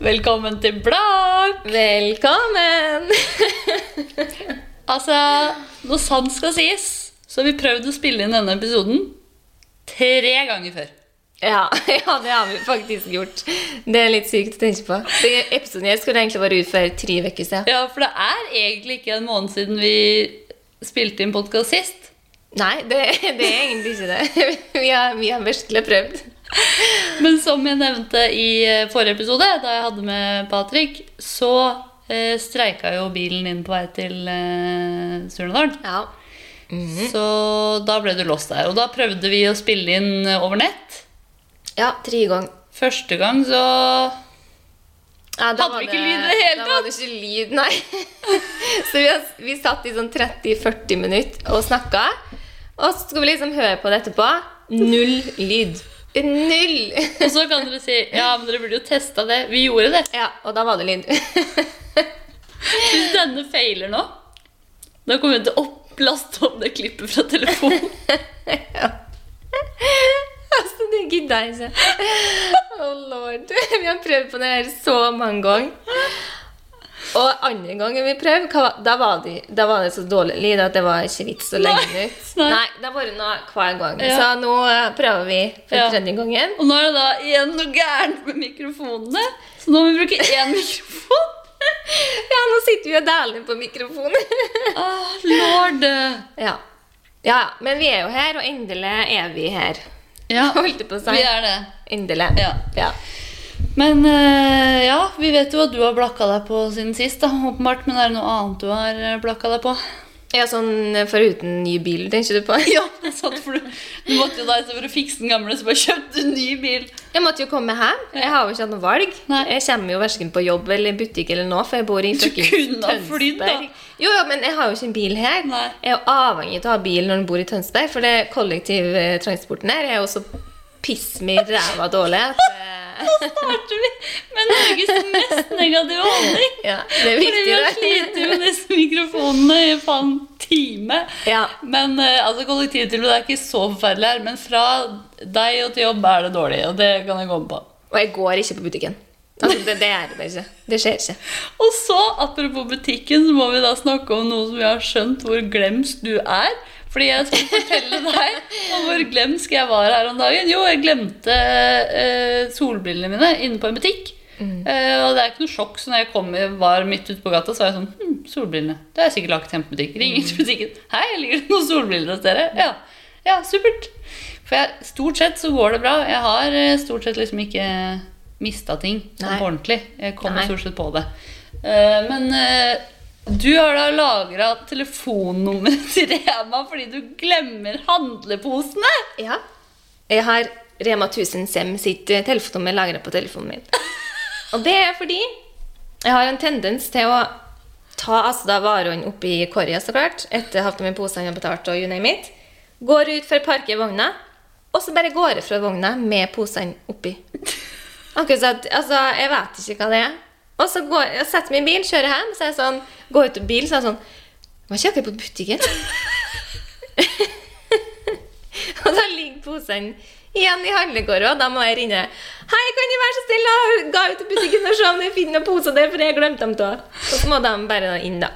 Velkommen til blakk! Velkommen! Altså, når sant skal sies, så har vi prøvd å spille inn denne episoden tre ganger før. ja, ja, det har vi faktisk gjort. Det er litt sykt å tenke på. Den episoden her skulle egentlig vært ut for tre uker siden. Ja, for det er egentlig ikke en måned siden vi spilte inn podkast sist. Nei, det, det er egentlig ikke det. Vi har, vi har virkelig prøvd. Men som jeg nevnte i eh, forrige episode, da jeg hadde med Patrick, så eh, streika jo bilen inn på vei til eh, Surnadal. Ja. Så da ble du låst der. Og da prøvde vi å spille inn eh, over nett. ja, tre ganger. Første gang så Ja, da Hadde var vi ikke lyd i det hele Da var det ikke lyd, nei. Så vi, har- vi satt i sånn 30-40 minutter og snakka. Og så skulle vi liksom høre på det etterpå. Null lyd. Null! Og så kan dere si ja, men dere burde jo testa det. Vi gjorde det. Ja, og da var det lyd. Hvis denne feiler nå, da kommer vi til å opp- laste opp det klippet fra telefonen. Altså, det gidder jeg ikke. Oh lord. Vi har prøvd på det her så mange ganger. Og andre gangen vi prøvde, hva var- da var det, da var det så dårlig lyd at det var ikke vits å legge det ut. nei. Nei, det har vært noe hver gang. Ja. Så nå eh, prøver vi for Ja. tredje gangen. Og nå er det da igjen noe gærent med mikrofonene, så nå må vi bruke én mikrofon. Ja, nå sitter vi og dæler på mikrofonen. Ah, lord. Ja. ja, ja. Men vi er jo her, og endelig er vi her. Ja, Holdt jeg på å vi si. er det. Endelig. Ja. ja. Men eh, ja, vi vet jo at du har blakka deg på siden sist, da, åpenbart. Men er det noe annet du har eh, blakka deg på? Ja, sånn foruten ny bil, tenker du på? Ja, det er sant, for du, du måtte jo da istedenfor å fikse den gamle, så bare kjøpte du en ny bil. Jeg måtte jo komme hjem. Jeg har jo ikke hatt noe valg. Nei. Jeg kommer jo hverken på jobb eller butikk eller nå, for jeg bor i Du fuckings kunne ha flydd, da. Tønsberg. Jo, jo, men jeg har jo ikke en bil her. Nei. Jeg er jo avhengig av å ha bil når en bor i Tønsberg, for det kollektivtransporten her er jo så piss meg i ræva dårlig at eh, Så starter vi med Norges mest negative holdning. Ja, det er Fordi vi har viktig, slitt med disse mikrofonene i faen time. det. Ja. Men eh, altså, kollektivtilbudet er ikke så forferdelig her, men fra deg og til jobb er det dårlig, og det kan jeg komme på. Og jeg går ikke på butikken. Altså, det, det er det bare ikke. Det skjer ikke. Og så, apropos butikken, så må vi da snakke om noe som jeg har skjønt hvor glemsk du er. Fordi jeg skal fortelle deg om hvor glemsk jeg var her om dagen. Jo, jeg glemte eh, solbrillene mine inne på en butikk. Eh, og det er ikke noe sjokk, så når jeg kom, var midt ute på gata, så var jeg sånn hm, Solbrillene. Det er sikkert lagt hjemme på butikk. Ringer til butikken. Hei, ligger det noen solbriller hos dere? Ja. ja, supert. For jeg, stort sett så går det bra. Jeg har eh, stort sett liksom ikke mista ting sånn Nei. på ordentlig. Jeg kommer Nei. stort sett på det. Eh, men eh, du har da lagra telefonnummeret til Rema fordi du glemmer handleposene! Ja. Jeg har Rema 1000 Sem sitt eh, telefonnummer lagra på telefonen min. Og det er fordi jeg har en tendens til å ta altså da varene oppi korga, så klart, etter hatt dem i posen og betalt og you name it. Går ut for å parke vogna, og så bare går jeg fra vogna med posene oppi. Akkurat så at, altså, Jeg vet ikke hva det er. Og så går, jeg setter meg i bil, kjører hjem, så er jeg sånn, går ut av bilen, så er jeg sånn Var ikke akkurat på butikken? Og da ligger posene igjen i handlegården, og da må jeg ringe. 'Hei, kan du være så snill å gå ut i butikken og se om jeg finner noen poser der, for jeg glemte dem av.' Og så må de bare da inn, da.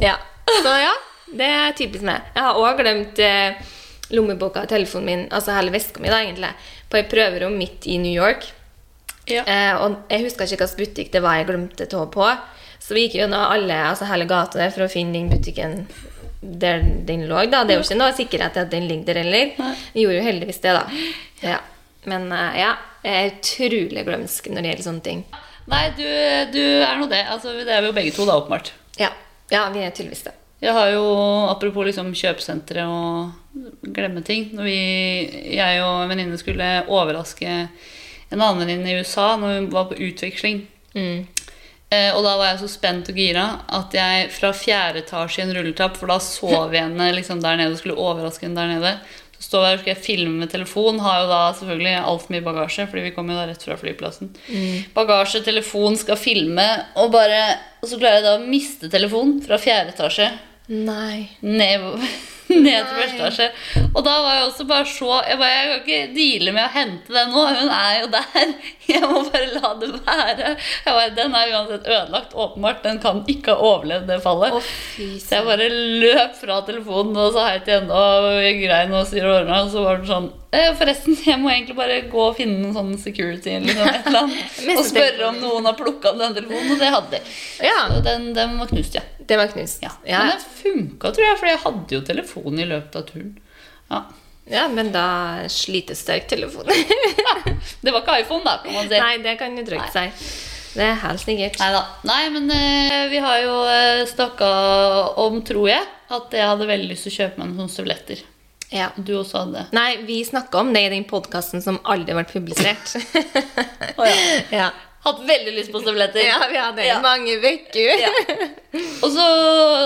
Ja. Så ja, det er typisk meg. Jeg har òg glemt eh, lommeboka og telefonen min, altså hele veska mi, da, egentlig, på et prøverom midt i New York. Ja. Eh, og jeg husker ikke hvilken butikk det var jeg glemte tå på. Så vi gikk gjennom alle, altså hele gata der for å finne den butikken der den lå. da. Det er jo ikke noe sikkerhet til at den ligger der heller. Nei. Vi gjorde jo heldigvis det, da. Ja. Men eh, ja, jeg er utrolig glømsk når det gjelder sånne ting. Nei, du, du er nå det. Altså, det er vi jo begge to, da, åpenbart. Ja, ja vi er tydeligvis det. Jeg har jo, apropos liksom kjøpesentre og glemme ting Når vi, jeg og en venninne skulle overraske en annen venninne i USA når hun var på utveksling Mm. eh, Og da var jeg så spent og gira at jeg fra fjerde etasje i en rulletrapp For da så vi henne liksom der nede og skulle overraske henne der nede Så står jeg og skal filme med telefon Har jo da selvfølgelig altfor mye bagasje Fordi vi kom jo da rett fra flyplassen Bagasje, telefon, skal filme Og, bare, og så klarer jeg da å miste telefonen fra fjerde etasje Nei. ned, ned til Nei. første etasje. Og da var jeg også bare så Jeg bare, jeg kan ikke deale med å hente det nå. Hun er jo der Jeg må bare la det være. Jeg bare, den er uansett ødelagt, åpenbart. Den kan ikke ha overlevd det fallet. Å, fy Så jeg bare løp fra telefonen og sa hei til henne og grein og styr og ordna. Og så var det sånn eh, Forresten, jeg må egentlig bare gå og finne en sånn security eller noe, et eller annet, og spørre om noen har plukka opp den telefonen. Og det hadde de. Ja, Så den, den var knust, ja. det var knust. ja. Ja, Men den funka, tror jeg, for jeg hadde jo telefonen i løpet av turen. Ja. ja, men da slitesterk telefon. Det var ikke iPhone, da, kan man si. Nei, det kan jo drøyt seg. Det er helt sikkert. Neida. Nei, men eh, vi har jo eh, snakka om, tror jeg, at jeg hadde veldig lyst til å kjøpe meg noen sånne støvletter. Ja. Du også hadde det. Nei, vi snakka om det i den podkasten som aldri ble publisert. Å, ja. ja. Hatt veldig lyst på støvletter. ja, vi hadde Ja. mange uker. Ja. Og så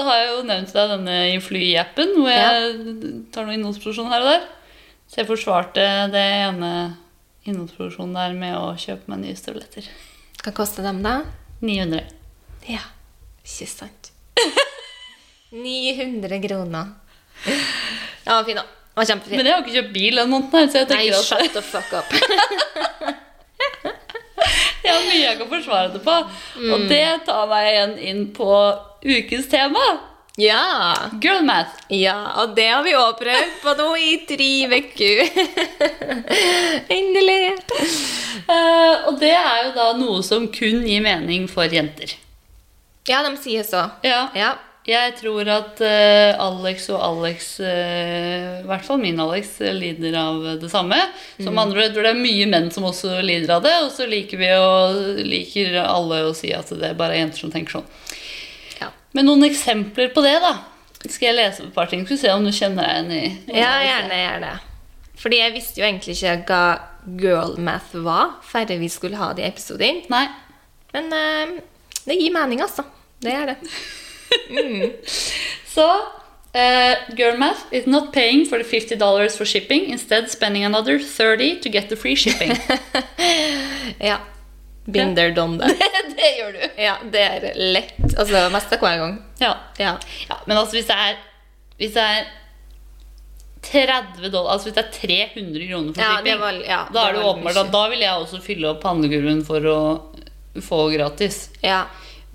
har jeg jo nevnt deg denne i flyappen, hvor jeg tar noe innholdsproduksjon her og der. Så jeg forsvarte det ene innholdsproduksjonen der med å kjøpe meg nye støvletter. Hva kosta dem, da? 900. Ja, ikke sant. 900 kroner. Den var fin, da. Den var kjempefin. Men jeg har ikke kjøpt bil denne måneden, her, så jeg Nei, tenker at shut the fuck up. Jeg har mye jeg kan forsvare det på. Og det tar meg igjen inn på ukens tema. ja. Girl math. ja, og det har vi òg prøvd på nå i tre uker. Endelig. Eh, og det er jo da noe som kun gir mening for jenter. Ja, de sier så. Ja. Ja. Jeg tror at eh, Alex og Alex, eh, i hvert fall min Alex, eh, lider av det samme. Som andre, jeg tror det er mye menn som også lider av det, og så liker vi å, liker alle å si at det er bare jenter som tenker sånn. ja. Men noen eksempler på det, da. Skal jeg lese på et par ting? Skal vi se om du kjenner deg igjen i Ja, gjerne, gjerne. Fordi jeg visste jo egentlig ikke hva girl math var, før vi skulle ha de episodene. Nei. Men eh, det gir mening, altså. Det gjør det. Så eh, Girl Math is not paying for the $50 for shipping, instead spending another 30 to get the free shipping. Ja. Binder done det. det gjør du. Ja, det er lett. Altså mest av hver gang. Ja. Ja. ja. Men altså, hvis det er Hvis det er 30 dollar Altså hvis det er 300 kroner for Ja, det shipping, var- ja, da er det det var åpenbart mye. at da vil jeg også fylle opp handlekurven for å få gratis. ja.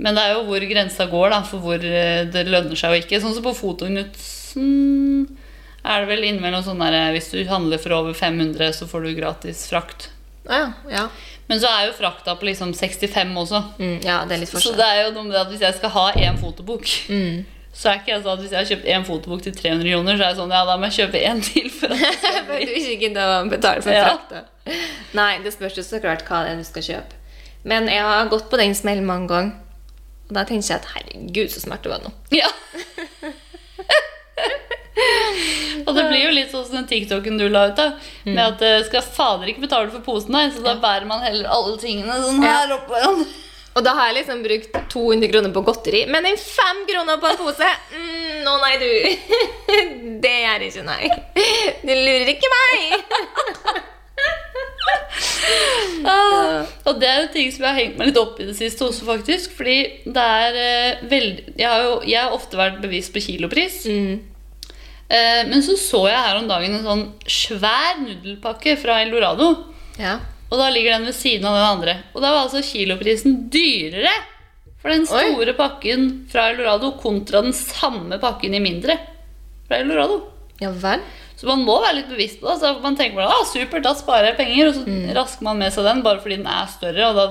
Men det er jo hvor grensa går da, for hvor eh, det lønner seg og ikke. Sånn som på Fotoknutsen er det vel innimellom sånn der hvis du handler for over 500, så får du gratis frakt. Ja, ja. Men så er jo frakta på liksom 65 også. Mm, ja, det er litt Så forskjell. det er jo noe med det at hvis jeg skal ha én fotobok Så er ikke jeg sånn at Hvis jeg har kjøpt én fotobok til 300 kroner, så er jeg sånn Ja, da må jeg kjøpe én til. For at Jeg føler du ikke gidder å betale for Ja. frakta. Nei, det spørs jo så klart hva det er du skal kjøpe. Men jeg har gått på den smellen mange ganger. Og da tenker jeg at herregud, så smart det var nå. Ja. Og det blir jo litt sånn som den TikToken du la ut, da. Med at eh, skal fader ikke betale for posen, nei, så da bærer man heller alle tingene sånn her oppå hverandre. Og da har jeg liksom brukt 200 kroner på godteri, men en fem kroner på en pose mm, Nå, nei, du. Det gjør ikke, nei. Du lurer ikke meg. Ah, og det er jo ting som jeg har hengt meg litt opp i det siste også, faktisk. Fordi det er eh, veldig Jeg har jo jeg har ofte vært bevisst på kilopris. Eh, men så så jeg her om dagen en sånn svær nudelpakke fra Eldorado. Ja. Og da ligger den ved siden av den andre. Og da var altså kiloprisen dyrere for den store pakken fra Eldorado kontra den samme pakken i mindre fra Eldorado. Ja vel. Så man må være litt bevisst på det. Så man tenker bare, ah, supert, da sparer jeg penger, og så rasker man med seg den bare fordi den er større, og da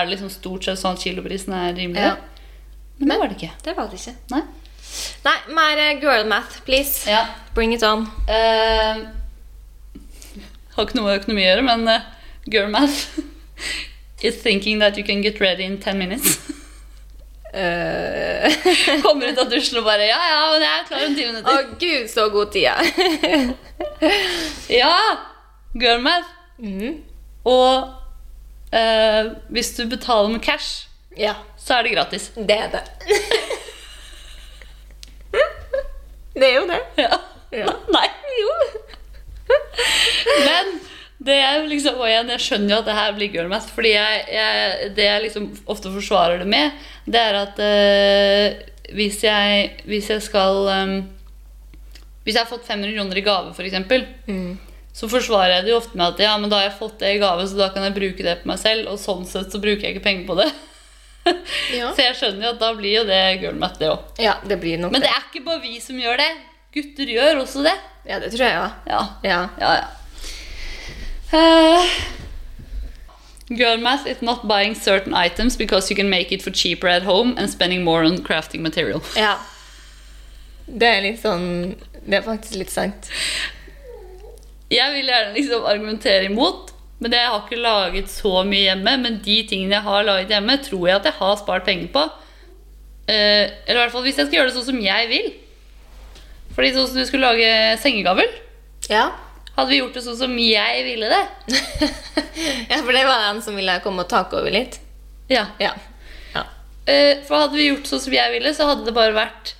er det liksom stort sett sånn at kiloprisen er rimeligere. Ja. Men det var det ikke. Det var det ikke. Nei. Nei, mer eh, girl math, please. Ja. Bring it on. Eh, har ikke noe med økonomi å gjøre, men eh, girl math is thinking that you can get ready in 10 minutes. Kommer ut av dusjen og bare Ja, ja, men jeg er klar om ti Å minutter. gud, så god tida. Ja! Girlmath. Mhm. Og eh, hvis du betaler med cash, Ja, så er det gratis. det er det. det er jo det. Ja. Ja. Nei. Jo. Men det er jo liksom, og igjen, jeg skjønner jo at det her blir girlmath, fordi jeg, jeg, det jeg liksom ofte forsvarer det med, det er at eh, hvis, jeg, Mm. hvis jeg skal eh, Hvis jeg har fått 500 kroner i gave, f.eks., eksempel, så forsvarer jeg det jo ofte med at ja, men da har jeg fått det i gave, så da kan jeg bruke det på meg selv. Og sånn sett så bruker jeg ikke penger på det. Ja. Så jeg skjønner jo at da blir jo det gulmet, det òg. Ja, det blir nok Men det er ikke bare vi som gjør det. Gutter gjør også det. Ja, det tror jeg òg. Ja, Ja. ja. ja. Eh, Girlmath is not buying certain items because you can make it for cheaper at home and spending more on crafting material. ja. Det er litt sånn Det er faktisk litt sant. Jeg vil gjerne liksom argumentere imot, men jeg har ikke laget så mye hjemme. Men de tingene jeg har laget hjemme, tror jeg at jeg har spart penger på. Eh, eller i hvert fall hvis jeg skal gjøre det sånn som jeg vil. Fordi sånn som du skulle lage sengegavl, Ja. hadde vi gjort det sånn som jeg ville det. ja, for det var han som ville komme og take over litt. Ja. Ja. ja. Eh, for hadde vi gjort sånn som jeg ville, så hadde det bare vært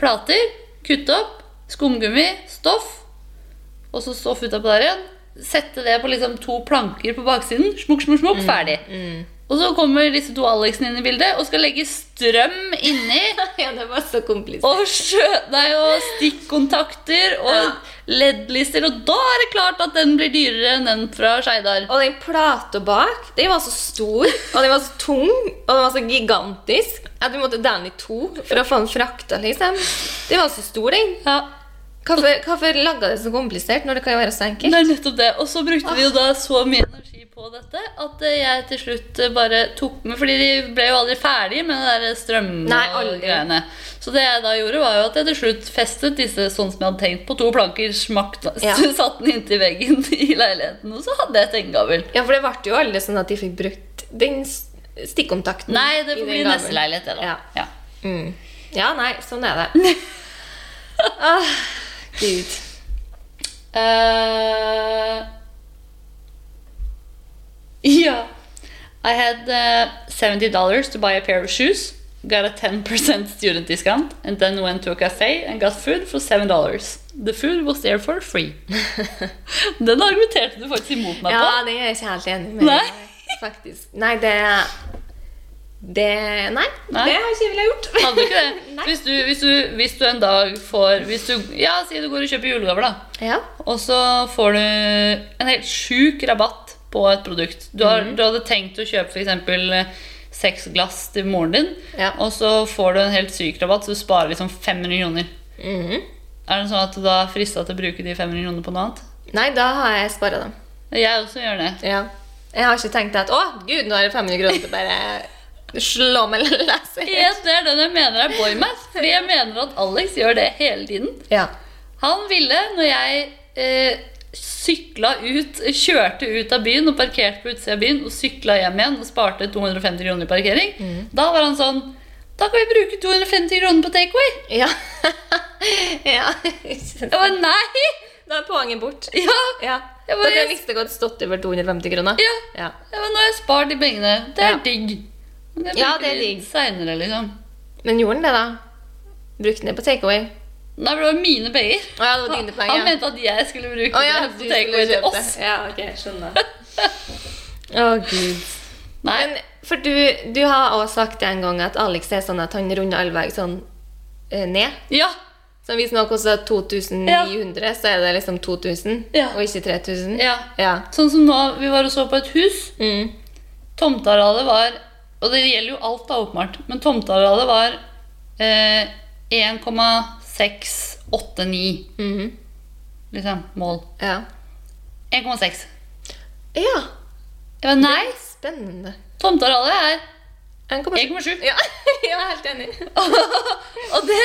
plater, kutte opp, skumgummi, stoff, og så stoff utapå der igjen. Sette det på liksom to planker på baksiden. Smukk, smukk, Mm, smukk, ferdig. Og så kommer disse to Alexene inn i bildet og skal legge strøm inni. ja, det var så komplisert. Og, sjø, nei, og stikkontakter Ja. og LED-lister. Og da er det klart at den blir dyrere enn den fra Skeidar. Og den plata bak, den var så stor, og den var så tung, og den var så gigantisk at vi måtte dele den i to for å få den frakta, liksom. Den var så stor, den. Ja, Hvorfor, hvorfor laga det så komplisert når det kan være så enkelt? det er nettopp det. Og så brukte vi jo da så mye energi på dette at eh, jeg til slutt eh, bare tok med Fordi de ble jo aldri ferdig med det der strøm Nei, og aldri. greiene. Så det jeg da gjorde, var jo at jeg til slutt festet disse sånn som jeg hadde tenkt, på to planker. Smakt, Ja. Satt den inntil veggen i leiligheten, og så hadde jeg et engavl. Ja, for det ble jo aldri sånn at de fikk brukt den s- stikkontakten. Nei, det i får den bli gaven. neste leilighet, det, da. Ja. Ja. Mm. Ja, nei, sånn er det. ah, Gud. Uh, yeah. I had uh, $70 to buy a pair of shoes, got a 10% student discount, and then went to a cafe and got food for $7. The food was there for free. Den argumenterte du faktisk imot meg Ja, det er jeg ikke helt enig med. Nei. Faktisk. Nei, det det Nei, Nei. det har ikke jeg villet gjort. på. Hadde du ikke det? Nei. Hvis du, hvis, du, hvis du en dag får hvis du, Ja, si du går og kjøper julegaver, da. Ja. Og så får du en helt sjuk rabatt på et produkt. Du, har, du hadde tenkt å kjøpe f.eks. seks glass til moren din, Ja. og så får du en helt syk rabatt, så du sparer liksom 500 kroner. Mhm. Er det sånn at du da er frista til å bruke de 500 kronene på noe annet? Nei, da har jeg spara dem. Jeg også gjør det. Ja. Jeg har ikke tenkt at å, gud, nå er det 500 kroner til bare slå meg eller lese. Yes, det er den jeg mener er boymath. Fordi jeg mener at Alex gjør det hele tiden. Ja. Han ville, når jeg eh, sykla ut, kjørte ut av byen og parkerte på utsida av byen og sykla hjem igjen og sparte 250 kroner i parkering, Mm. da var han sånn Da kan vi bruke 250 kroner på takeaway. Ja. ja. ikke sant. Jeg var nei! Da er poenget bort. Ja! Ja. Jeg Dere bare- har visst det godt stått over 250 kroner. ja. Ja. Jeg var, nå har jeg spart de pengene. Det er Ja. digg. Men det Ja, bruker det er vi digg. Senere, liksom. Men gjorde han det, da? Brukte han det på takeaway? Nei, for det var mine penger. Å ja, det var dine Han penger. mente at jeg skulle bruke Å ja, det du på skulle takeaway til kjøpe. oss. Ja, ok, skjønner. Å, gud. Nei. Men for du, du har også sagt en gang at Alex er sånn at han runder all vei sånn eh, ned. Ja. Så hvis noe koster 2900, så er det liksom 2000, Ja. og ikke 3000. ja. ja. Sånn som nå, vi var og så på et hus. Mm. Tomtearealet var Og det gjelder jo alt, da, åpenbart. Men tomtearealet var eh, 1,689 Mhm. liksom, mål. ja. 1,6. Ja, Jeg var nei, spennende. tomtearealet En er kommer 1,7. Ja, jeg er helt enig. Og det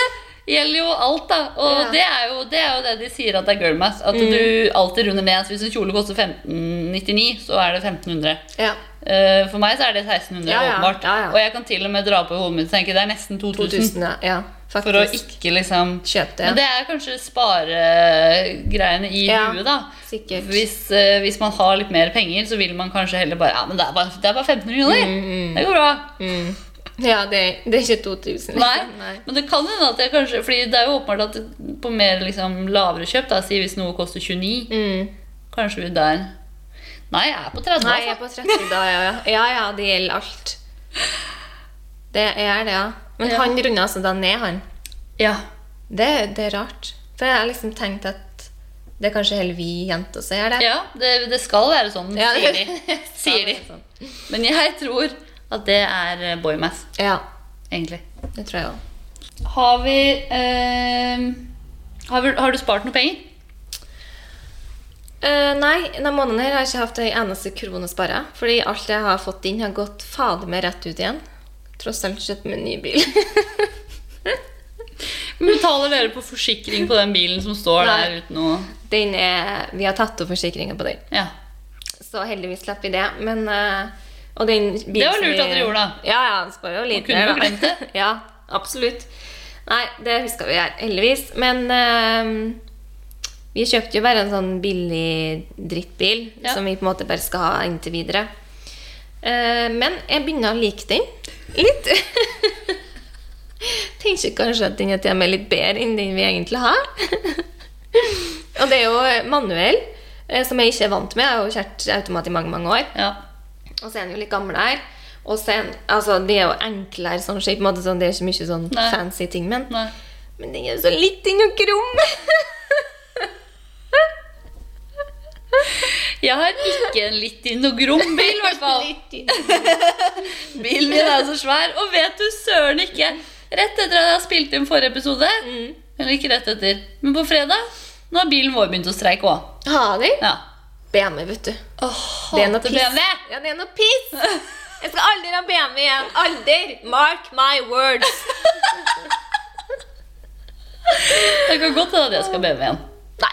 gjelder jo alt, da. Og Ja. Mm. det, er jo, det er jo det de sier at det er girl math. At du alltid runder ned. Så Hvis en kjole koster 1599, så er det 1500. Ja. Eh, for meg så er det 1600, Ja, ja. åpenbart. Ja, ja. Og jeg kan til og med dra på i hodet mitt og tenke det er nesten 2000. 2000, ja. ja. Faktisk. For å ikke liksom kjøpe det. Men det er kanskje sparegreiene i Ja, huet, da. sikkert. Hvis, eh, hvis man har litt mer penger, så vil man kanskje heller bare Ja, men det er bare, det er bare 1500 kroner. Det går bra. Mm. Ja, det, det er ikke 2000. Nei. liksom. Nei. Men det kan hende at jeg kanskje Fordi det er jo åpenbart at det- på mer liksom lavere kjøp, da, si hvis noe koster 29, Mm. kanskje vi der Nei, jeg er på 30, Nei, jeg er altså. på 30 da, ja. Ja, ja, ja det gjelder alt. Det er det, ja. Men Ja. han runder altså da ned, han. Ja. Det, det er rart. For jeg har liksom tenkt at Det er kanskje heller vi jenter som gjør det. Ja, det, det skal være sånn, Ja, det- sier de. Sier de. Men jeg tror at det er eh, boymass, Ja, egentlig. det tror jeg òg. Har vi, eh, har vi Har du spart noe penger? Eh, nei, denne måneden her har jeg ikke hatt ei eneste krone å spare. Fordi alt jeg har fått inn, har gått fader meg rett ut igjen. Tross alt kjøpt meg en ny bil. Men Betaler dere på forsikring på den bilen som står Nei. der uten noe Den er, vi har tatt opp forsikringa på den, Ja. så heldigvis slapp vi det. Men, eh, og den bilen Det var som lurt vi- at dere gjorde, da. Ja, ja, det sparer jo litt. kunne der, jo da. glemt det. ja, absolutt. Nei, det huska vi her, heldigvis. Men eh, vi kjøpte jo bare en sånn billig drittbil Ja. som vi på en måte bare skal ha inntil videre. Eh, men jeg begynner å like den litt. Tenker kanskje at den er til og med litt bedre enn den vi egentlig har. og det er jo manuell, eh, som jeg ikke er vant med. Jeg har jo kjørt automat i mange, mange år. ja. Og så er han jo litt gammel her. Og så er han, altså, det er jo enklere sånn skip, på en måte, sånn, det er ikke mye sånn Nei. fancy ting, men Nei. Men den er jo så liten og krum! Jeg har ikke en litt inn og grom bil, i hvert fall. Litt- Bilen min er så svær. Og vet du søren ikke Rett etter at jeg spilte inn forrige episode Eller ikke rett etter, men på fredag Nå har bilen vår begynt å streike òg. Har de? Ja. BMW, vet du. Oh, Det er noe piss. BMW! Ja, det er noe piss! Jeg skal aldri ha BMW igjen. Aldri! Mark my words. Det kan godt hende at jeg skal BMW igjen. Nei.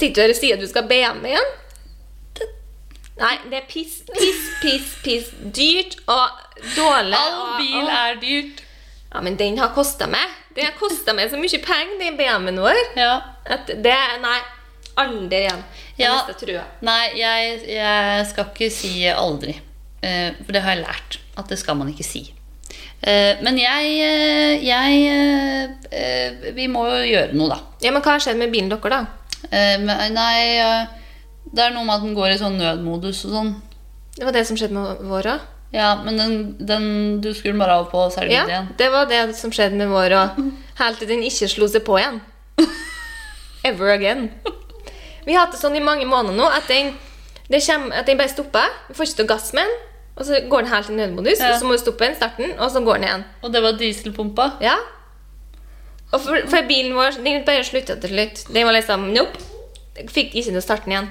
Sitter du her og sier at du skal be hjem igjen? Nei, det er piss, piss, piss, piss. Dyrt og dårlig. All og- bil og- er dyrt. Ja, men den har kosta meg. Den har kosta meg så mye penger, den BMW-en vår. Ja. At det Nei, aldri igjen. Det Ja. meste trua. Nei, jeg, jeg skal ikke si aldri. Eh, for det har jeg lært at det skal man ikke si. Eh, men jeg, eh, jeg eh, eh, Vi må jo gjøre noe, da. Ja, men hva har skjedd med bilen deres, da? Eh, men, nei, eh, det er noe med at den går i sånn nødmodus og sånn. Det var det som skjedde med vår òg. Ja, men den, den du skulle den bare av på selve ja. Ja, ideen. det var det som skjedde med vår òg. Helt til den ikke slo seg på igjen. Ever again. Vi har hatt det sånn i mange måneder nå at den, det kommer, at den bare stopper. Vi får ikke til gass med den. Og så går den helt i nødmodus, Ja. og så må du stoppe den, starte den, og så går den igjen. Og det var dieselpumpa. Ja. Og for, for bilen vår den bare slutta til slutt. Den var liksom Nope. Jeg Fikk ikke noe starten igjen.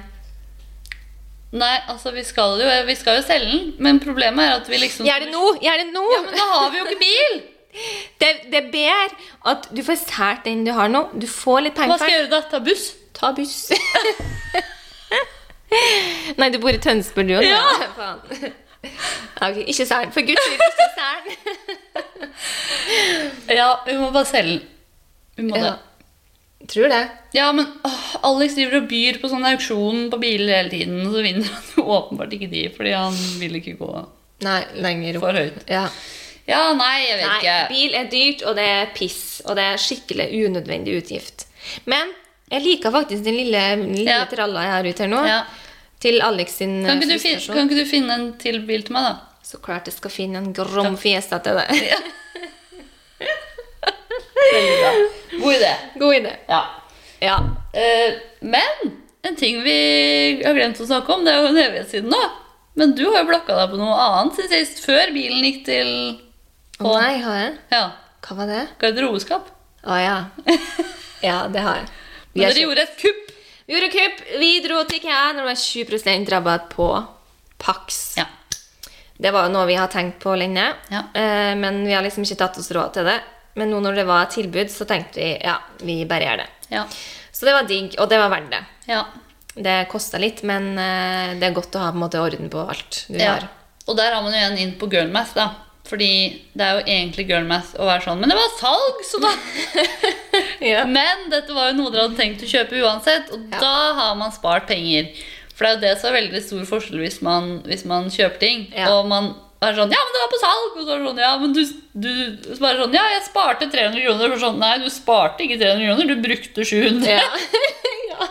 Nei, altså, vi skal jo, vi skal jo selge den, men problemet er at vi liksom Gjør det nå! Gjør det nå! Ja, men da har vi jo ikke bil! det, det er bedre at du får solgt den du har nå. Du får litt Hva penger skal jeg for gjøre den. da? Ta buss? Ta buss. Nei, du bor i Tønsberg, du òg. Ja. Faen. Ok, ikke selg den. For guds skyld, ikke selg den. Ja, vi må bare selge den. Vi må Ja. det. Tror det. Ja, men åh, Alex driver og byr på sånn auksjon på biler hele tiden, og så vinner han jo åpenbart ikke de, fordi han vil ikke gå Nei, lenger opp. for høyt. Ja. Ja, nei, jeg vet Nei, ikke. bil er dyrt, og det er piss. Og det er skikkelig unødvendig utgift. Men jeg liker faktisk den lille, lille Ja. tralla jeg har ute her nå. Ja. Til Alex sin Kan eh, ikke, du finne, frustrasjon. kan ikke du finne en til bil til meg, da? Så klart jeg skal finne en grom fiesta til deg. God idé. God idé. Ja. Ja. Eh, men en ting vi har glemt å snakke om, det er jo en evighet siden nå. Men du har jo blokka deg på noe annet siden sist, før bilen gikk til Å nei, har jeg? ja, Hva var det? garderobeskap. Å ja. Ja, det har jeg. Vi Men har dere gjorde et kupp. kjøpt- Vi gjorde kupp. Vi dro til IKEA når det var 20 rabatt på Pax. Ja. Det var jo noe vi har tenkt på lenge, Ja. eh, men vi har liksom ikke tatt oss råd til det. Men nå når det var et tilbud, så tenkte vi ja, vi bare gjør det. Ja. Så det var digg, og det var verdt det. ja. Det kosta litt, men eh, det er godt å ha på en måte orden på alt du ja. har. Og der har man jo en inn på girlmath, da. Fordi det er jo egentlig girlmath å være sånn Men det var salg, så da Ja. Men dette var jo noe dere hadde tenkt å kjøpe uansett, og Ja. da har man spart penger. For det er jo det som er veldig stor forskjell hvis man, hvis man kjøper ting. Ja. Og man er sånn 'Ja, men det var på salg!' Og så er det sånn 'Ja, men du, du så bare sånn 'Ja, jeg sparte 300 kroner.' Og sånn 'Nei, du sparte ikke 300 kroner, du brukte 700.' Ja.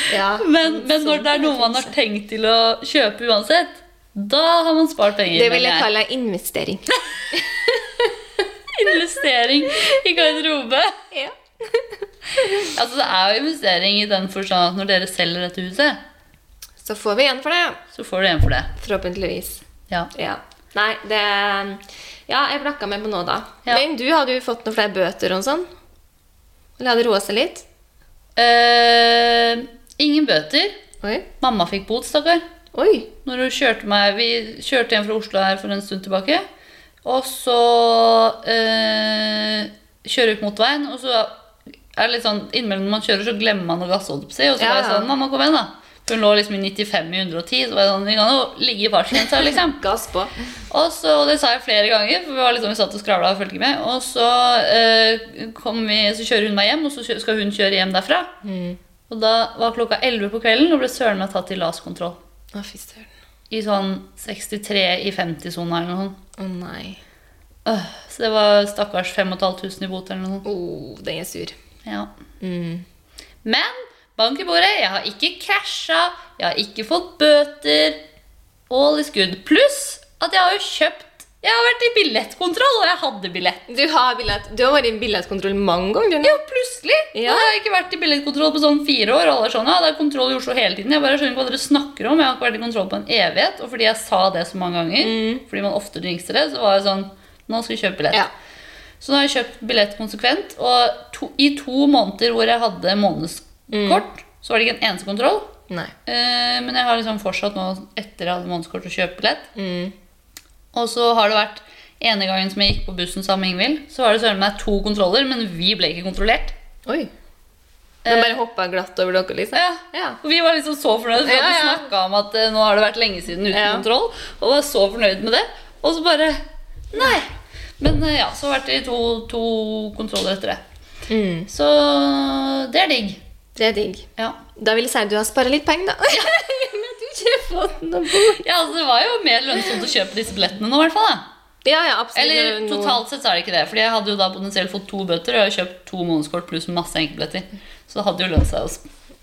ja. Men, men når det er noe man har tenkt til å kjøpe uansett, da har man spart penger. Det vil mener jeg jeg. kalle investering. investering i garderobe. Ja. Altså, det er jo investering i den forstand at når dere selger dette huset, Så får vi igjen for det, ja. så får du igjen for det. Forhåpentligvis. Ja. Ja. Nei, det Ja, jeg blakka meg på nå, da. Ja. Men du hadde jo fått noen flere bøter og sånn? Eller hadde roa seg litt? Eh, ingen bøter. Oi. Mamma fikk bot, stakkar. Oi. Når hun kjørte meg Vi kjørte hjem fra Oslo her for en stund tilbake. Og så eh, kjører vi på motorveien, og så er det litt sånn innimellom når man kjører, så glemmer man å gasse, holdt jeg på å si. Og så Ja, var jeg ja. sånn Mamma, kom igjen, da. For hun lå liksom i 95 i 110, så var jeg sånn Vi kan jo ligge i fartsgrensa, liksom. Gass på. Og så, og det sa jeg flere ganger, for vi, var liksom, vi satt og skravla og fulgte med. Og så, eh, kom vi, så kjører hun meg hjem, og så kjø- skal hun kjøre hjem derfra. Og da var klokka 11 på kvelden, og ble søren meg tatt i LAS-kontroll. Å, fy søren. I sånn 63 i 50-sona eller noe sånt. Å nei. Øh, så det var stakkars 5500 i bot eller noe sånt. Å, den er sur. Ja. Mm. Men bank i bordet, jeg har ikke krasja, jeg har ikke fått bøter. All is good. Pluss at jeg har jo kjøpt Jeg har vært i billettkontroll, og jeg hadde billett. Du har, billett, du har vært i billettkontroll mange ganger. Jo, plutselig! Ja. Og Jeg har ikke vært i billettkontroll på sånn fire år. og Alle er sånn, ja, det er kontroll i Oslo hele tiden. Jeg bare skjønner ikke hva dere snakker om. Jeg har ikke vært i kontroll på en evighet. Og fordi jeg sa det så mange ganger, fordi man ofte dingser det, så var jeg sånn Nå skal jeg kjøpe billett. Mm. Ja. Så nå har jeg kjøpt billett konsekvent, og to, i to måneder hvor jeg hadde Mm. månedskort, så var det ikke en eneste kontroll. Nei. Eh, men jeg har liksom fortsatt nå, etter jeg hadde månedskort, å kjøpe billett. Mm. Og så har det vært ene gangen som jeg gikk på bussen sammen med Ingvild, så var det søren meg to kontroller, men vi ble ikke kontrollert. Oi. Den bare hoppa glatt over dere, liksom? Ja. Eh. Ja. Og vi var liksom så fornøyde, for vi hadde Ja, ja. snakka om at eh, nå har det vært lenge siden uten Ja. kontroll, og var så fornøyd med det. Og så bare Nei. Men eh, ja, så har det vært i to, to kontroller etter det. Mm. Så det er digg. Det er digg. Ja. Da vil jeg si at du har spara litt penger, da. Men du har ikke fått noe bot. ja, altså Det var jo mer lønnsomt å kjøpe disse billettene nå, i hvert fall. da. Ja, ja, absolutt. Eller Noe- totalt sett så er det ikke det. Fordi jeg hadde jo da potensielt fått to bøter, og jeg har kjøpt to månedskort pluss masse enkeltbilletter. Så det hadde jo lønt seg. Også.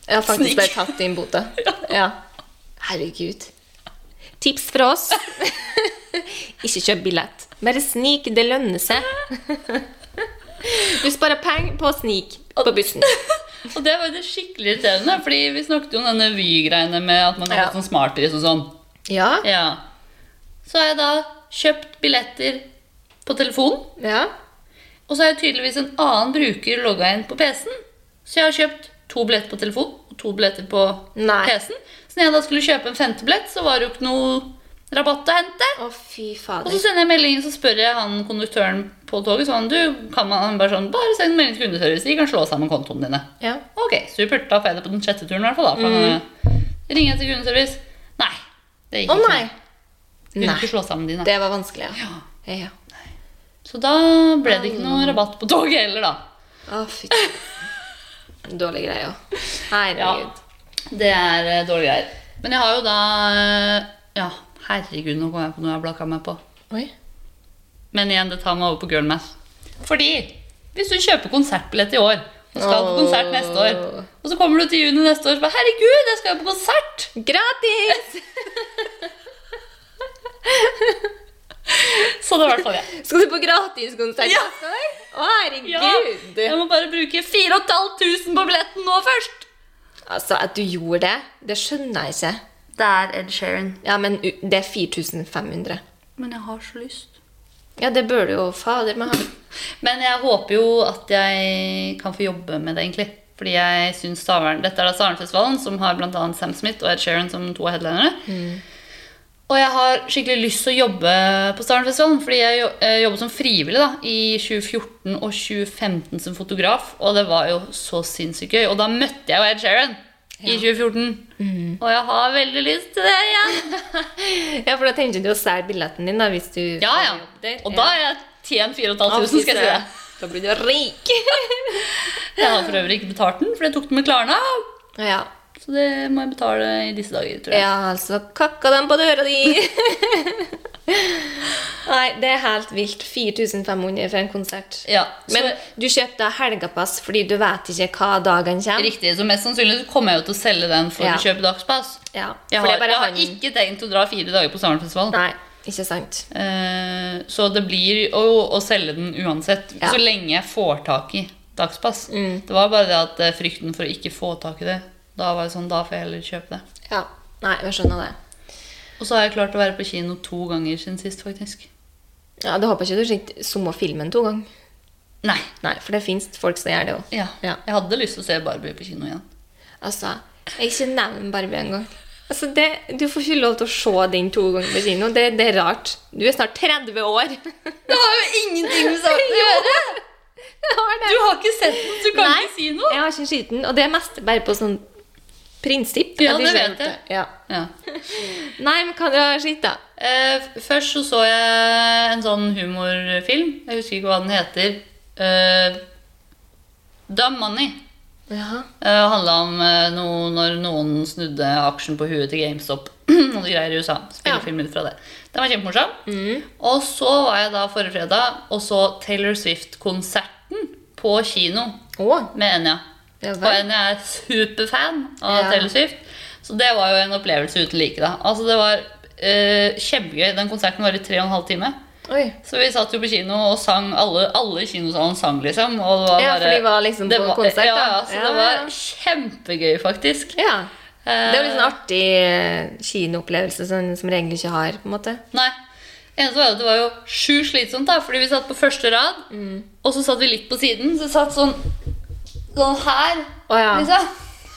Jeg har faktisk Snik. bare tatt inn bota. Ja. Herregud. Tips fra oss. Ikke kjøp billett. Bare snik. Det lønner seg. Du sparer penger på å snik på bussen. Og det var jo det skikkelig irriterende, Fordi vi snakket jo om denne Vy-greiene med at man har Ja. fått sånn smartis og sånn. Ja. Ja. Så har jeg da kjøpt billetter på telefon, ja. og så har jeg tydeligvis en annen bruker logga inn på PC-en. Så jeg har kjøpt to billetter på telefon og to billetter på Nei. PC-en. Så når jeg da skulle kjøpe en femte billett, så var det jo ikke noe rabatt å hente. Å, fy Og så fader. sender jeg meldingen, så spør jeg han konduktøren på toget sånn, du, kan man han bare sånn, bare send melding til kundeservice, de kan slå sammen kontoene dine. Ja. Ok, supert, da får jeg det på den sjette turen i hvert fall da. for Mm. han, eh, Ringer jeg til kundeservice? Nei, det gikk Å ikke. nei. Kunne Nei. ikke slå sammen de, nei. Det var vanskelig, ja. ja. Så da ble det ikke noe rabatt på toget heller da. Å, fy Dårlig greie òg. Herregud. Det er eh, dårlige greier. Men jeg har jo da, eh, ja, herregud, nå kom jeg på noe jeg blakka meg på. Oi. Men igjen, det tar meg over på girlmath. Fordi hvis du kjøper konsertbillett i år, og skal på Åh. konsert neste år, og så kommer du til juni neste år og bare 'Herregud, jeg skal jo på konsert!' Gratis! Sånn er i hvert fall jeg. Skal du på gratiskonsert Ja. neste år? Å, Ja, herregud. jeg må bare bruke 4500 på billetten nå først! Altså, At du gjorde det, det skjønner jeg ikke. Det er Ed Sheeran. Ja, men u- det er 4500. Men jeg har så lyst. Ja, det bør du jo fader meg ha. Men jeg håper jo at jeg kan få jobbe med det, egentlig. Fordi jeg synes Stavern, Dette er da Stavernfestivalen, som har bl.a. Sam Smith og Ed Sheeran som to headlinere. Og jeg har skikkelig lyst til å jobbe på Stavernfestivalen. Fordi jeg jo- eh, jobbet som frivillig da, i 2014 og 2015 som fotograf. Og det var jo så sinnssykt gøy. Og da møtte jeg jo Ed Sheeran i 2014. Og jeg har veldig lyst til det igjen. Ja, for da tenkte du å selge billetten din, da, hvis du Ja, ja. Og da har jeg tjent 4500, skal jeg si det. Da blir du rik. Jeg har for øvrig ikke betalt den, for jeg tok den med Klarna. ja. Så det må jeg betale i disse dager, tror jeg. ja, altså Kakka dem på døra di! Nei, det er helt vilt. 4500 for en konsert. Ja, så, Men du kjøpte helgepass fordi du vet ikke hva dagen kommer. riktig, så mest sannsynlig så kommer jeg jo til å selge den for Ja. å kjøpe dagspass. Ja, Jeg for har, det er bare jeg har han- ikke tenkt å dra fire dager på Samernfestivalen. Nei, ikke sant. Eh, så det blir å, å selge den uansett, Ja. Mm. så lenge jeg får tak i dagspass. Det var bare det at eh, frykten for å ikke få tak i det. Da var det sånn, da får jeg heller kjøpe det. Ja. Nei, jeg skjønner det. Og så har jeg klart å være på kino to ganger siden sist, faktisk. Ja, Du håper ikke du sett summa filmen to ganger? Nei. Nei, for det fins folk som gjør det òg. Ja. Ja. Jeg hadde lyst til å se Barbie på kino igjen. Altså, jeg ikke nevn Barbie engang. Altså, det, du får ikke lov til å se den to ganger på kino. Det, det er rart. Du er snart 30 år. Det har jo ingenting med saken å gjøre! Jeg har det. Du har ikke sett den, så du kan Nei, ikke si noe. Jeg har ikke sett den, og det er mest bare på sånn prinsipp. Ja, at det ikke vet har gjort det. Ja. Ja. Nei, men kan du ha sett, da? Eh, f- først så så jeg en sånn humorfilm. Jeg husker ikke hva den heter. Eh, Dumb Money. Ja. Det eh, handla om eh, noe når noen snudde aksjen på huet til GameStop. og de greier i USA. Spillefilm ut fra det. Den var kjempemorsom. Og så var jeg da forrige fredag og så Taylor Swift-konserten på kino Å, med Enja. ja Og vel. Enja er superfan av Ja. Taylor Swift. Så det var jo en opplevelse uten like. da. Altså Det var eh, kjempegøy. Den konserten var i tre og en halv time. Oi. Så vi satt jo på kino og sang alle, alle i kinosalen sang, liksom. Og det var Ja, for bare- de var liksom det på var- konsert, Ja, da. ja, så Ja, det var ja. kjempegøy, faktisk. Ja. Det er jo Eh, litt sånn artig eh, kinoopplevelse som, som jeg egentlig ikke har. på en måte. Eh, Nei. Eneste var at det var jo sjukt slitsomt, da, fordi vi satt på første rad, Mm. og så satt vi litt på siden, så vi satt sånn Sånn her, Å ja. liksom.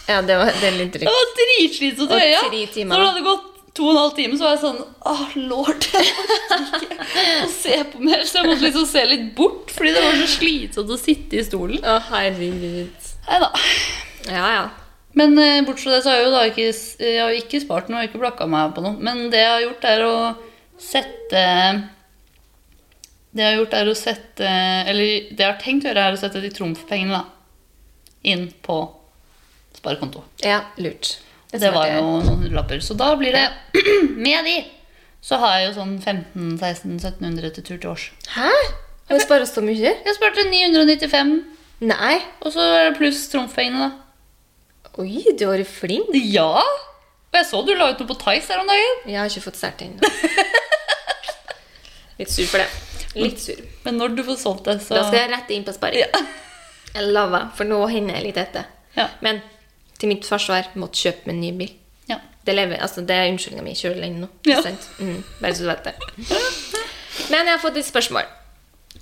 Ja, det, var, det er litt Det drygt. var dritslitsomt å Og gjøre. ja. tre Så timer. når det hadde gått to og en halv time, så var jeg sånn Åh, lord, jeg orker ikke å se på mer. Så jeg måtte liksom se litt bort, fordi det var så slitsomt å sitte i stolen. Å, herregud. Nei da. Ja, ja. Men eh, bortsett fra det, så har jeg jo da ikke, jeg har jo ikke spart noe, jeg har ikke blakka meg på noe. Men det jeg har gjort, er å sette Det jeg har gjort, er å sette Eller det jeg har tenkt å gjøre, er å sette de trumfpengene da, inn på sparekonto. Ja, Lurt. Det var jo noen lapper. Så da blir det Med de så har jeg jo sånn 1500-1600-1700 til tur til års. Hæ? Har vi spart så mye? Jeg sparte 995, Nei. og så er det pluss trumfpengene, da. Oi, du har vært flink. Ja! Og jeg så du la ut noe på Tice her om dagen. Jeg har ikke fått sært ennå. Litt sur for det. Litt sur. Men når du får solgt det, så Da skal jeg rett inn på sparing. Jeg lover, for nå hender jeg litt etter. Ja. Men til mitt forsvar måtte kjøpe meg en ny bil. ja. Det, lever, altså, det er unnskyldninga mi kjører lenge nå. Ja. ikke sant? Mm, bare så du vet det. Men jeg har fått et spørsmål.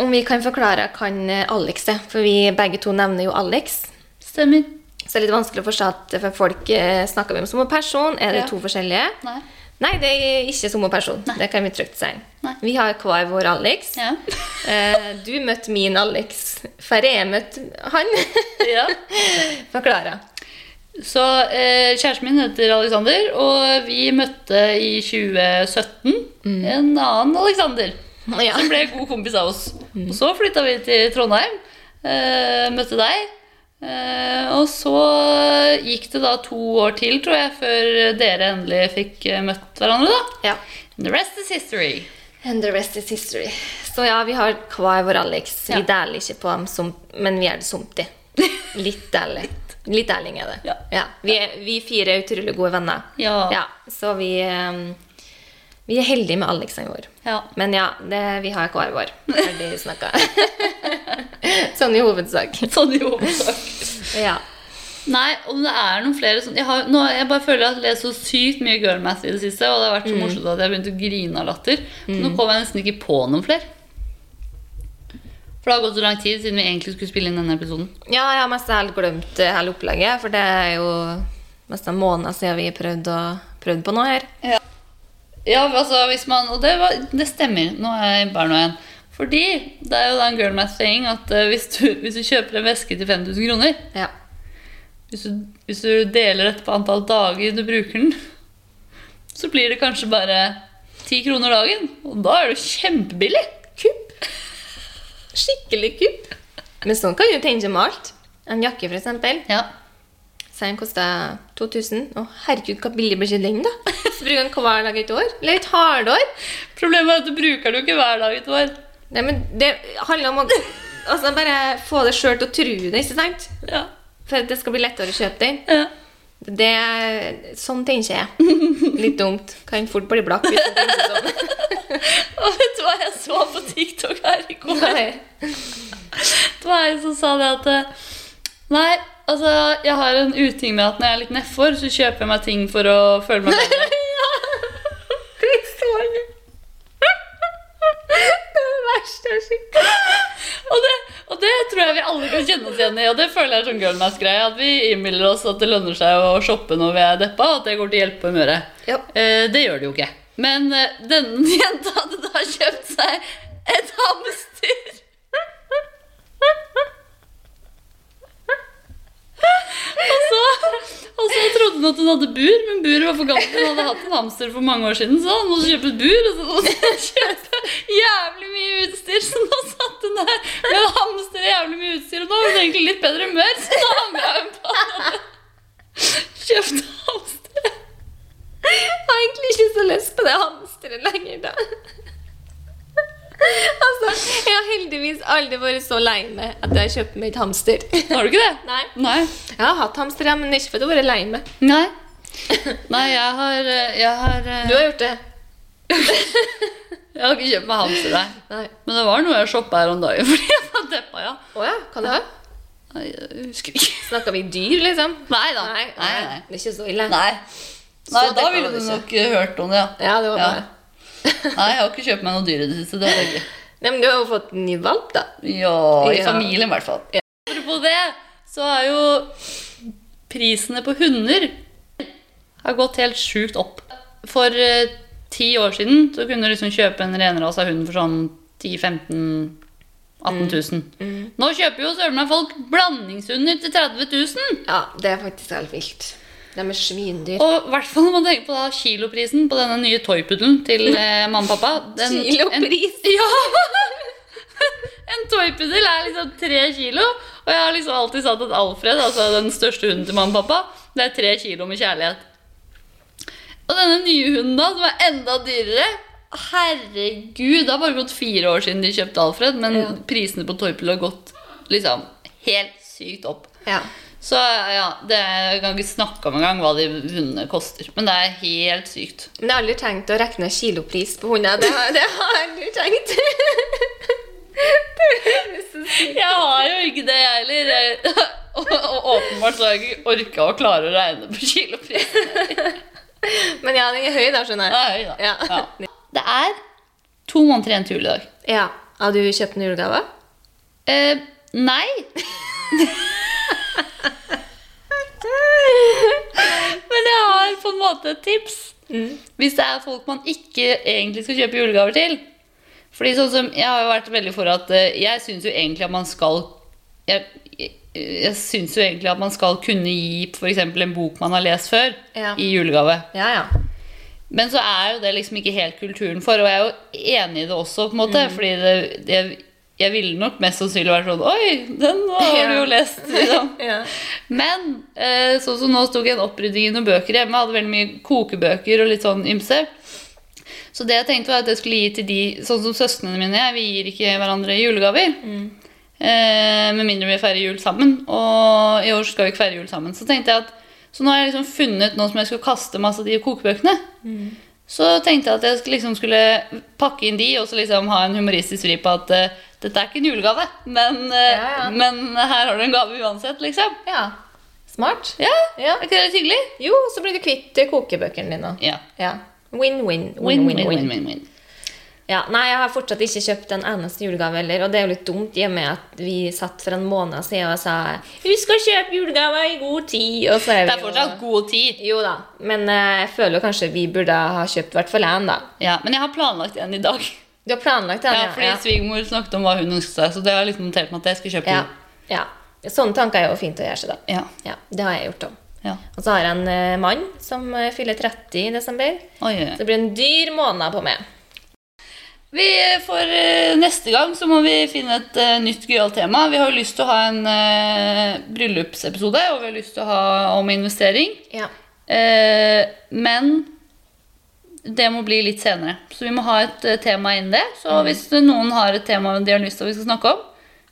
Om vi kan forklare kan eh, Alex det? For vi begge to nevner jo Alex. Stemmer. Så det er litt vanskelig å forstå at for folk eh, snakker vi om som en person. Er det Ja. to forskjellige? Nei. Nei, det er ikke som en person. Det kan vi trygt si. Nei. Vi har hver vår Alex. Ja. Eh, du møtte min Alex. Færre jeg møtte han. ja. Forklara. Så eh, kjæresten min heter Alexander, og vi møtte i 2017 en annen Alexander. Ja. Som ble god kompis av oss. Og så flytta vi til Trondheim, eh, møtte deg. Eh, og så gikk det da to år til, tror jeg, før dere endelig fikk eh, møtt hverandre, da. Ja. The rest is history. And the rest is history. Så ja, vi har hver vår Alex. Ja. Vi deler ikke på dem, som, men vi er det somtig. Litt ærlig. Litt ærlig er det. Ja. Vi, er, vi fire er utrolig gode venner. Ja. så vi, eh, vi er heldige med Alexene våre. Ja. Men ja, det, vi har hver vår. Ferdig snakka. sånn i hovedsak. Sånn i hovedsak. Ja. Nei, om det er noen flere sånn jeg, har, nå, jeg bare føler at jeg har lest så sykt mye girl math i det siste, og det har vært så morsomt at jeg har begynt å grine av latter. Men Nå kom jeg nesten ikke på noen flere. For det har gått så lang tid siden vi egentlig skulle spille inn denne episoden. ja, jeg har mest helt glemt eh, hele opplegget, for det er jo mest en måned siden vi prøvde, å, prøvde på noe her. Ja, altså hvis man, Og det, var, det stemmer. Nå er jeg bare noe igjen. Fordi det er jo da en girl math-saying at eh, hvis, du, hvis du kjøper en veske til 5000 kroner Ja. hvis du, hvis du deler dette på antall dager du bruker den, så blir det kanskje bare 10 kroner dagen. Og da er det jo kjempebillig. kupp. Skikkelig kupp. Men sånn kan du tenke med alt. En jakke, for eksempel. Ja. Si den koster 2000. Å, herregud, hva billig blir ikke den, da? Så bruker den hver dag et år. Eller et halvår. Problemet er at du bruker den jo ikke hver dag i et år. Nei, men det handler om å altså, bare få det sjøl til å tro det, ikke sant? Ja. For at det skal bli lettere å kjøpe den. Ja. Det, sånn tenker jeg. Litt dumt. Kan fort bli blakk hvis du tenker sånn. Og vet du hva jeg så på TikTok her i går? Nei. Det var en som sa det at eh, Nei, altså, jeg har en uting med at når jeg er litt nedfor, så kjøper jeg meg ting for å føle meg bedre. Det er så gøy. Det er det verste jeg har sett. Og det, og det tror jeg vi alle kan kjenne oss igjen i, og det føler jeg er sånn girlmask-greie. At vi innbiller oss at det lønner seg å shoppe når vi er deppa, og at det går til hjelp på humøret. Ja. Eh, det gjør det jo ikke. Men eh, denne jenta hadde da kjøpt seg et hamster. Og så, og så trodde hun at hun hadde bur, men buret var for gammelt. Hun hadde hatt en hamster for mange år siden, så hun måtte kjøpe et bur. Og så måtte hun kjøpe jævlig mye utstyr, så nå satt hun der med en hamster og jævlig mye utstyr. Og nå var hun egentlig litt bedre humør, så da angra hun på at hun hadde kjøpt hamster. Jeg har egentlig ikke så lyst på det hamsteret lenger, da. Altså, jeg har heldigvis aldri vært så lei meg at jeg har kjøpt meg et hamster. Har du ikke det? Nei. Nei. Jeg har hatt hamster, ja, men ikke for at jeg har vært lei meg. Nei, Nei jeg har eh, Jeg har, eh, Du har gjort det? jeg har ikke kjøpt meg hamster, nei. Nei. Men det var noe jeg shoppa her om dagen fordi jeg var deppa, ja. Å ja, kan det ha? Nei, jeg husker ikke. Snakker vi dyr, liksom? Nei da. Nei, nei, Nei, nei. Det er ikke så ille. Nei. Så Nei, da deppa ville var du du ikke. nok eh, hørt om det, ja. Ja, det var Ja. bra. Nei, jeg har ikke kjøpt meg noe dyr i det siste. Det har jeg ikke. Nei, men du har jo fått en ny valp, da. Ja, i Ja. familien i hvert fall. Apropos det, så er jo prisene på hunder har gått helt sjukt opp. For eh, ti år siden så kunne du liksom kjøpe en renrasa hund for sånn 10 15 18 000. Nå kjøper jo søren meg folk blandingshunder til 30 000! Ja, det er faktisk helt vilt. De er svindyr. Og i hvert fall når man tenker på da kiloprisen på denne nye toypuddelen til eh, mamma og pappa. den- Kilopris? En, ja! En toypuddel er liksom tre kilo. Og jeg har liksom alltid sagt at Alfred, altså den største hunden til mamma og pappa, det er tre kilo med kjærlighet. Og denne nye hunden da, som er enda dyrere Herregud, det har bare gått fire år siden de kjøpte Alfred, men Ja. prisene på toypuddel har gått liksom helt sykt opp. Ja. Så ja, det, jeg kan ikke snakke om engang hva de hundene koster. Men det er helt sykt. Men jeg har aldri tenkt å regne kilopris på hunder. Det har, det har jeg aldri tenkt. Det høres så sykt Jeg har jo ikke det, jeg heller. Jeg- Og, og åpenbart så har jeg ikke orka å klare å regne på kilopris. Men ja, den er høy, da, skjønner jeg. Nei, da. Ja. Ja. Det er to måneder igjen til jul i dag. Ja. Har du kjøpt en julegave? Eh, nei. Men jeg har på en måte et tips. Hvis det er folk man ikke egentlig skal kjøpe julegaver til. Fordi sånn som, Jeg har jo vært veldig for at eh, jeg syns jo egentlig at man skal Jeg, jeg, jeg syns jo egentlig at man skal kunne gi f.eks. en bok man har lest før, Ja. i julegave. Ja, ja. Men så er jo det liksom ikke helt kulturen for, og jeg er jo enig i det også, på en måte. Fordi det, det, jeg ville nok mest sannsynlig vært sånn Oi, den har du jo Ja. lest. Liksom. ja. Men eh, sånn som nå sto jeg en opprydding i noen bøker hjemme, hadde veldig mye kokebøker og litt sånn ymse. Så det jeg tenkte var at jeg skulle gi til de, sånn som søsknene mine, vi gir ikke hverandre julegaver. Mm. Eh, med mindre vi feirer jul sammen. Og i år skal vi ikke feire jul sammen. Så tenkte jeg at, så nå har jeg liksom funnet noe som jeg skulle kaste masse av de kokebøkene. Mm. Så tenkte jeg at jeg skulle- liksom skulle pakke inn de, og så liksom ha en humoristisk vri på at eh, dette er ikke en julegave, men, eh, Ja, ja. men her har du en gave uansett, liksom. ja. Smart. Ja, Ja. er ikke det litt hyggelig? Jo, så blir du kvitt eh, kokebøkene dine. Ja. Ja. Win, Win-win. win, win, win, win, Ja, nei, jeg har fortsatt ikke kjøpt en eneste julegave heller. Og det er jo litt dumt, i og med at vi satt for en måned siden og sa Husk å kjøpe julegaver i god tid. Og så er vi Det er fortsatt jo god tid. Jo da, men eh, jeg føler jo kanskje vi burde ha kjøpt i hvert fall én, da. Ja, men jeg har planlagt en i dag. Du har planlagt den? Ja, fordi svigermor snakket om hva hun ønsket seg, så det har jeg liksom notert meg at jeg skal kjøpe. ja. den. ja. Sånne tanker er jo fint å gjøre seg, da. Ja. Ja, Det har jeg gjort òg. ja. Og så har jeg en eh, mann som eh, fyller 30 i desember. Oi, oi, Så oi. det blir en dyr måned på meg. Vi eh, får eh, neste gang så må vi finne et eh, nytt gøyalt tema. Vi har jo lyst til å ha en eh, bryllupsepisode, og vi har lyst til å ha om investering. Ja. Eh, men det må bli litt senere. Så vi må ha et eh, tema innen det. Så Mm. hvis noen har et tema de har lyst til at vi skal snakke om,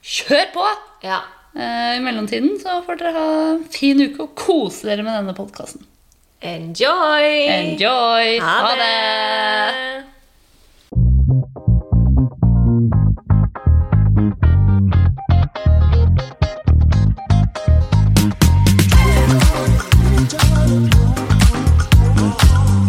kjør på! ja. Eh, I mellomtiden så får dere ha en fin uke og kose dere med denne podkasten. Enjoy! Enjoy! Ha det!